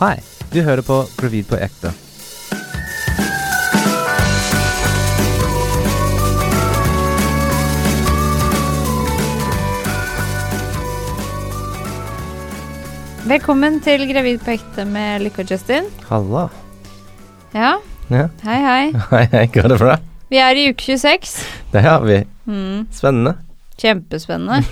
Hei, du hører på Gravid på ekte. Velkommen til Gravid på ekte med Lykke og Justin. Halla. Ja, Ja. hei, hei. Hei, hei, går det bra? Vi er i uke 26. Det har vi. Mm, Spennende. kjempespennende.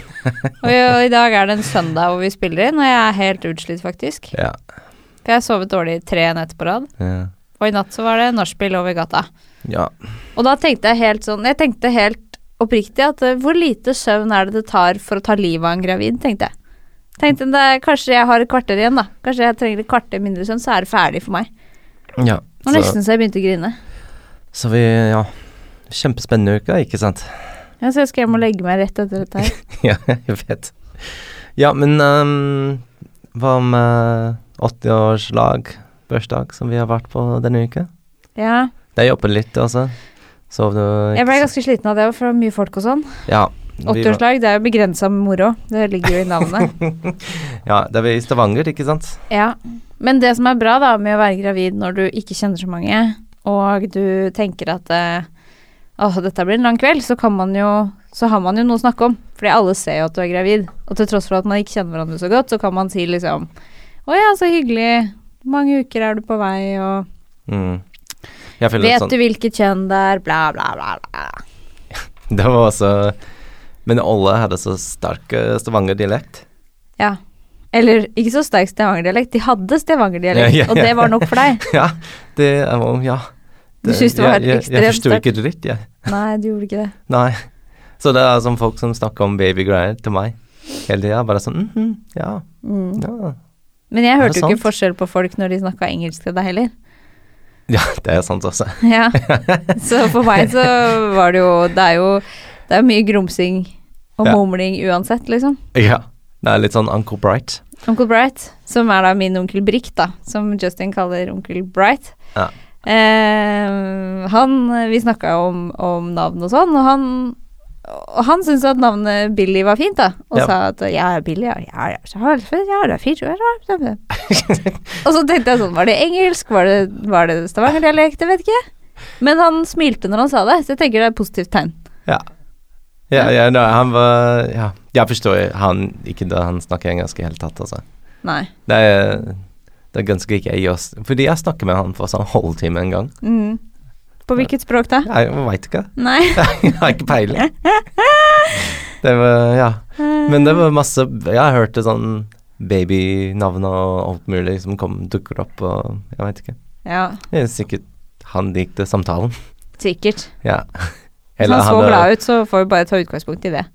Og i- i dag er det en søndag hvor vi spiller inn, og jeg er helt utslitt, faktisk. Ja. For jeg har sovet dårlig tre netter på rad. Ja. Og i natt så var det nachspiel over gata. ja. Og da tenkte jeg helt sånn Jeg tenkte helt oppriktig at eh, hvor lite søvn er det det tar for å ta livet av en gravid, tenkte jeg. Tenkte det, er- Kanskje jeg har et kvarter igjen, da. Kanskje jeg trenger et kvarter mindre søvn, så er det ferdig for meg. ja. Og Så, nesten så jeg begynte å grine. så vi, ja. Kjempespennende uke, ikke sant? Ja, så jeg skal hjem og legge meg rett etter dette her. ja, jeg vet. Ja, men ehm, hva med 80-årslag, bursdag, som vi har vært på denne uka? Ja, Jeg jobber litt også. Sov du ikke jeg ble så- ganske sliten av det, for det var mye folk og sånn. Ja. vi var- 80-årslag, det er jo begrensa med moro. Det ligger jo i navnet. Ja, det var i Stavanger, ikke sant? ja. Men det som er bra da med å være gravid når du ikke kjenner så mange, og du tenker at eh, åh, dette blir en lang kveld, så kan man jo så har man jo noe å snakke om, fordi alle ser jo at du er gravid. Og til tross for at man ikke kjenner hverandre så godt, så kan man si liksom Å ja, så hyggelig. Hvor mange uker er du på vei, og Mm. Jeg føler Vet sånn, du hvilket kjønn det er? Bla, bla, bla. bla. Det var også Men alle hadde så sterk eh, Stavanger-dialekt. Ja. Eller ikke så sterk Stavanger-dialekt. De hadde Stavanger-dialekt, Ja, ja, ja. og det var nok for deg. ja, det er jo- Ja. Du synes det var jeg, jeg, jeg ekstremt forsto sterkt? ikke dritt, jeg. Nei, du gjorde ikke det. Nei. Så det er sånn folk som snakker om babygreier til meg hele tida. Bare sånn mhm, ja, Mm. ja. Men jeg Er hørte det jo ikke sant? forskjell på folk når de snakka engelsk til deg heller. Ja, det er sant også. Ja. Så for meg så var det jo Det er jo det er mye grumsing og Ja. mumling uansett, liksom. Ja. Det er litt sånn Uncle Bright. Onkel Bright, som er da min onkel Brick, da, som Justin kaller onkel Bright. Ja. Eh, han, Vi snakka jo om, om navn og sånn, og han, og han syntes at navnet Billy var fint, da. Og Ja. sa at ja, Billy, ja, ja, ja, så har- ja, det er fint, ja, ja, ja. Og så tenkte jeg sånn, var det engelsk, var det, var det stavangerdialekt, jeg vet ikke. Men han smilte når han sa det, så jeg tenker det er et positivt tegn. Ja. Ja, ja, nei, han var Ja. Jeg forstår han ikke da han snakker engelsk i hele tatt, altså. Nei. Det er, det er ganske grei oss. Fordi jeg snakker med han for sånn halvtime en gang. Mm. På hvilket språk da? Jeg veit ikke. Nei. Jeg har ikke peiling. Det var, ja. Men det var masse Jeg hørte sånn babynavn og alt mulig som kom, dukker opp, og jeg veit ikke. Ja, Det er sikkert han likte samtalen. sikkert. Ja. Hvis han så glad ut, så får vi bare ta utgangspunkt i det.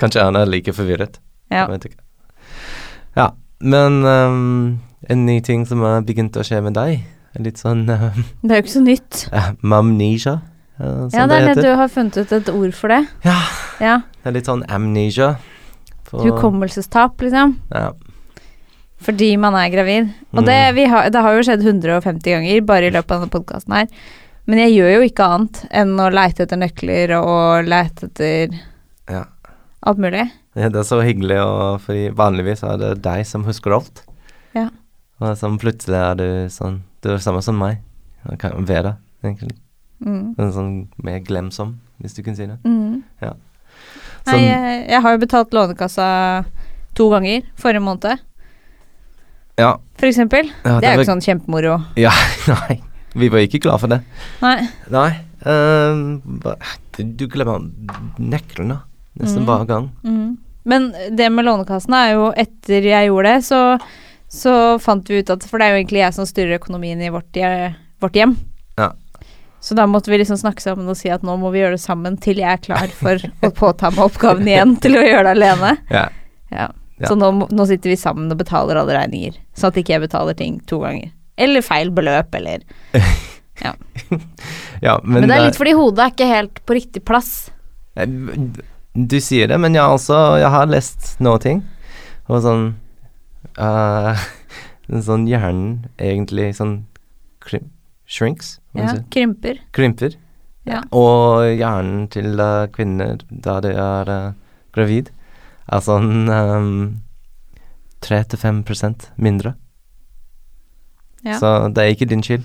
Kanskje han er like forvirret. Ja. Jeg vet ikke. Ja. Men ehm, en ny ting som har begynt å skje med deg, er litt sånn uh, Det er jo ikke så nytt. mamnesia, eh, som ja, det er det heter. du har funnet ut et ord for det. Ja. ja. Det er litt sånn amnesia. For- Hukommelsestap, liksom. Ja. Fordi man er gravid. Og det, Mm. vi har, det har jo skjedd 150 ganger bare i løpet av denne podkasten her. Men jeg gjør jo ikke annet enn å leite etter nøkler og leite etter Ja. alt mulig. Ja, det er så hyggelig, og fordi vanligvis er det deg som husker alt. Ja. Og sånn plutselig er du sånn Du er samme som meg. Jeg kan være egentlig. Mm. Men sånn mer glemsom, hvis du kan si det. Mm. Ja. Nei, Sånn- jeg, jeg har jo betalt Lånekassa to ganger forrige måned, Ja. for eksempel. ja Det er jo var- ikke sånn kjempemoro. Ja, nei. Vi var ikke glad for det. Nei. Nei. ehm, hva- du glemmer nøklene nesten Mm. hver gang. Mm. Men det med Lånekassen er jo etter jeg gjorde det, så, så fant vi ut at For det er jo egentlig jeg som styrer økonomien i vårt, je- vårt hjem. Ja. Så da måtte vi liksom snakke sammen og si at nå må vi gjøre det sammen til jeg er klar for å påta meg oppgaven igjen til å gjøre det alene. Ja. Ja. Ja. Så nå, må- nå sitter vi sammen og betaler alle regninger, sånn at ikke jeg betaler ting to ganger. Eller feil beløp, eller ja Men, men, det er eh, litt fordi hodet er ikke helt på riktig plass. Eh, Du sier det, men jeg, har også, jeg har lest noen ting. Og sånn eh, Sånn hjernen egentlig sånn krim, shrinks, hva Ja. man sier. Krymper. krymper. Ja. Og hjernen til eh, kvinner da de er eh, gravid, eh, er sånn um, 3-5 mindre Ja. Så det er ikke din skyld.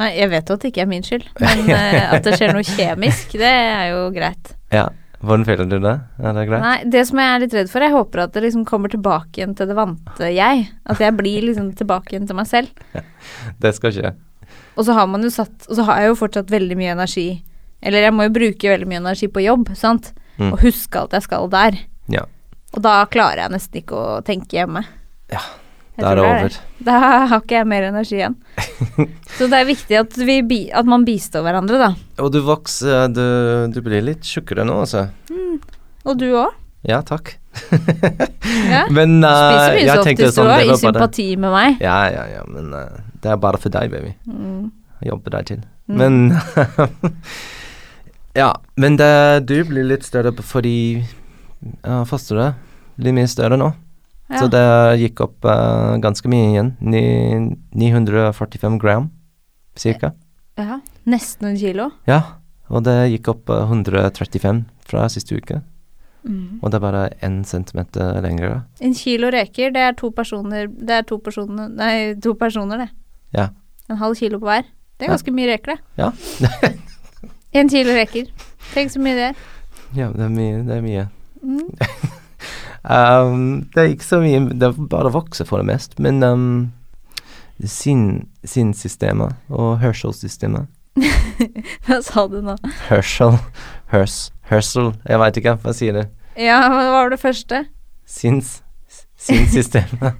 Nei, jeg vet jo at det ikke er min skyld, men eh, at det skjer noe kjemisk, det er jo greit. Ja. Hvordan føler du det? Er det greit? Nei, det som jeg er litt redd for, jeg håper at det liksom kommer tilbake igjen til det vante jeg. At jeg blir liksom tilbake igjen til meg selv. Det skal skje. Og så har man jo satt Og så har jeg jo fortsatt veldig mye energi Eller jeg må jo bruke veldig mye energi på jobb, sant? Mm. Og huske alt jeg skal der. Ja. Og da klarer jeg nesten ikke å tenke hjemme. Ja, Jeg da er tror det det. over. Da har ikke jeg mer energi igjen. så det er viktig at, vi, bi- at man bistår hverandre, da. Og du vokser du, du blir litt tjukkere nå, altså. Og du òg. Ja, takk. Ja. Men Du eh, spiser mye jeg tenkte softis du sånn, det òg, i var bare sympati med meg. Ja, ja, ja, men eh, det er bare for deg, baby. Mm. Jeg jobber deg til. Mm. Men Ja, men det, du blir litt større p- fordi uh, fosteret blir mye større nå. Ja. Så det gikk opp eh, ganske mye igjen. Ni, 945 gram, cirka. ja. Nesten en kilo. Ja, og det gikk opp eh, 135 fra siste uke. Mm. Og det er bare én centimeter lengre. En kilo reker, det er to personer Det er to personer Nei, to personer, det. Ja. En halv kilo på hver. Det er Ja. ganske mye reker, det. Ja. En kilo reker. Tenk så mye det er. Ja, det er mye. Det er mye. Mm. Um, det er ikke så mye Det er bare vokser for det mest, men um, sinn- sinnsystemet og hørselssystemet Hva sa du nå? Hørsel hørs, Hørsel, jeg veit ikke, hva sier det? Ja, hva var det første? Sinns Sinnsystemet.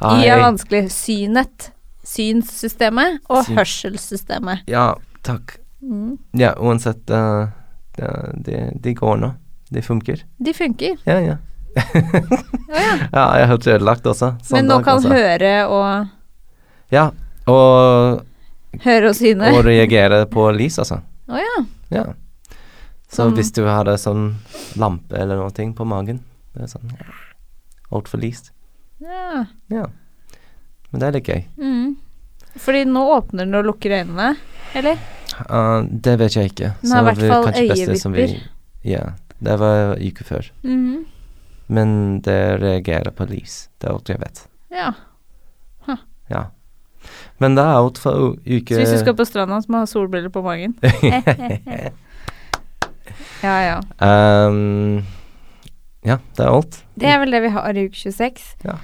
I er Ai, vanskelig. Synet. Synssystemet og Syn- hørselssystemet. Ja, takk. Mm. Ja, uansett, uh, det, det, det går nå. Det funker. De funker. Ja, ja. Å ja. ja jeg er helt ødelagt også. Sånn Men nå dag kan også. høre og Ja, og, Høre og syne. og reagere på lys, altså. Å ja. Ja. Så Sånn- hvis du hadde sånn lampe eller noe ting på magen det er sånn, Altfor lyst. ja. Ja. Men det er litt gøy. Mm. Fordi nå åpner den og lukker øynene, eller? Uh, det vet jeg ikke. Den har i hvert vi- fall kanskje best det som vi- øyevipper. Ja. Det var uke før. Mhm. Men det reagerer på lys. Det er alt jeg vet. Ja. Ja. Men det er alt for u- uke Så hvis du skal på stranda, så må du ha solbriller på magen. ja, ja. um, Ja, det er alt. Det er vel det vi har i uke 26. Ja.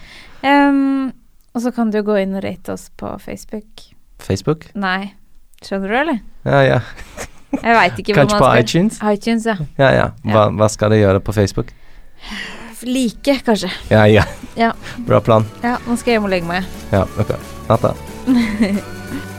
Ehm, og så kan du gå inn og rate oss på Facebook. Facebook? Nei, skjønner du, eller? Ja, ja. Jeg veit ikke hvor Kanskje på man skal iTunes? iTunes, ja. Ja, ja. Hva, hva skal de gjøre på Facebook? Like, kanskje. Ja, ja. Ja. Bra plan. Ja, nå skal jeg hjem og legge meg. Ja, ok. Natta.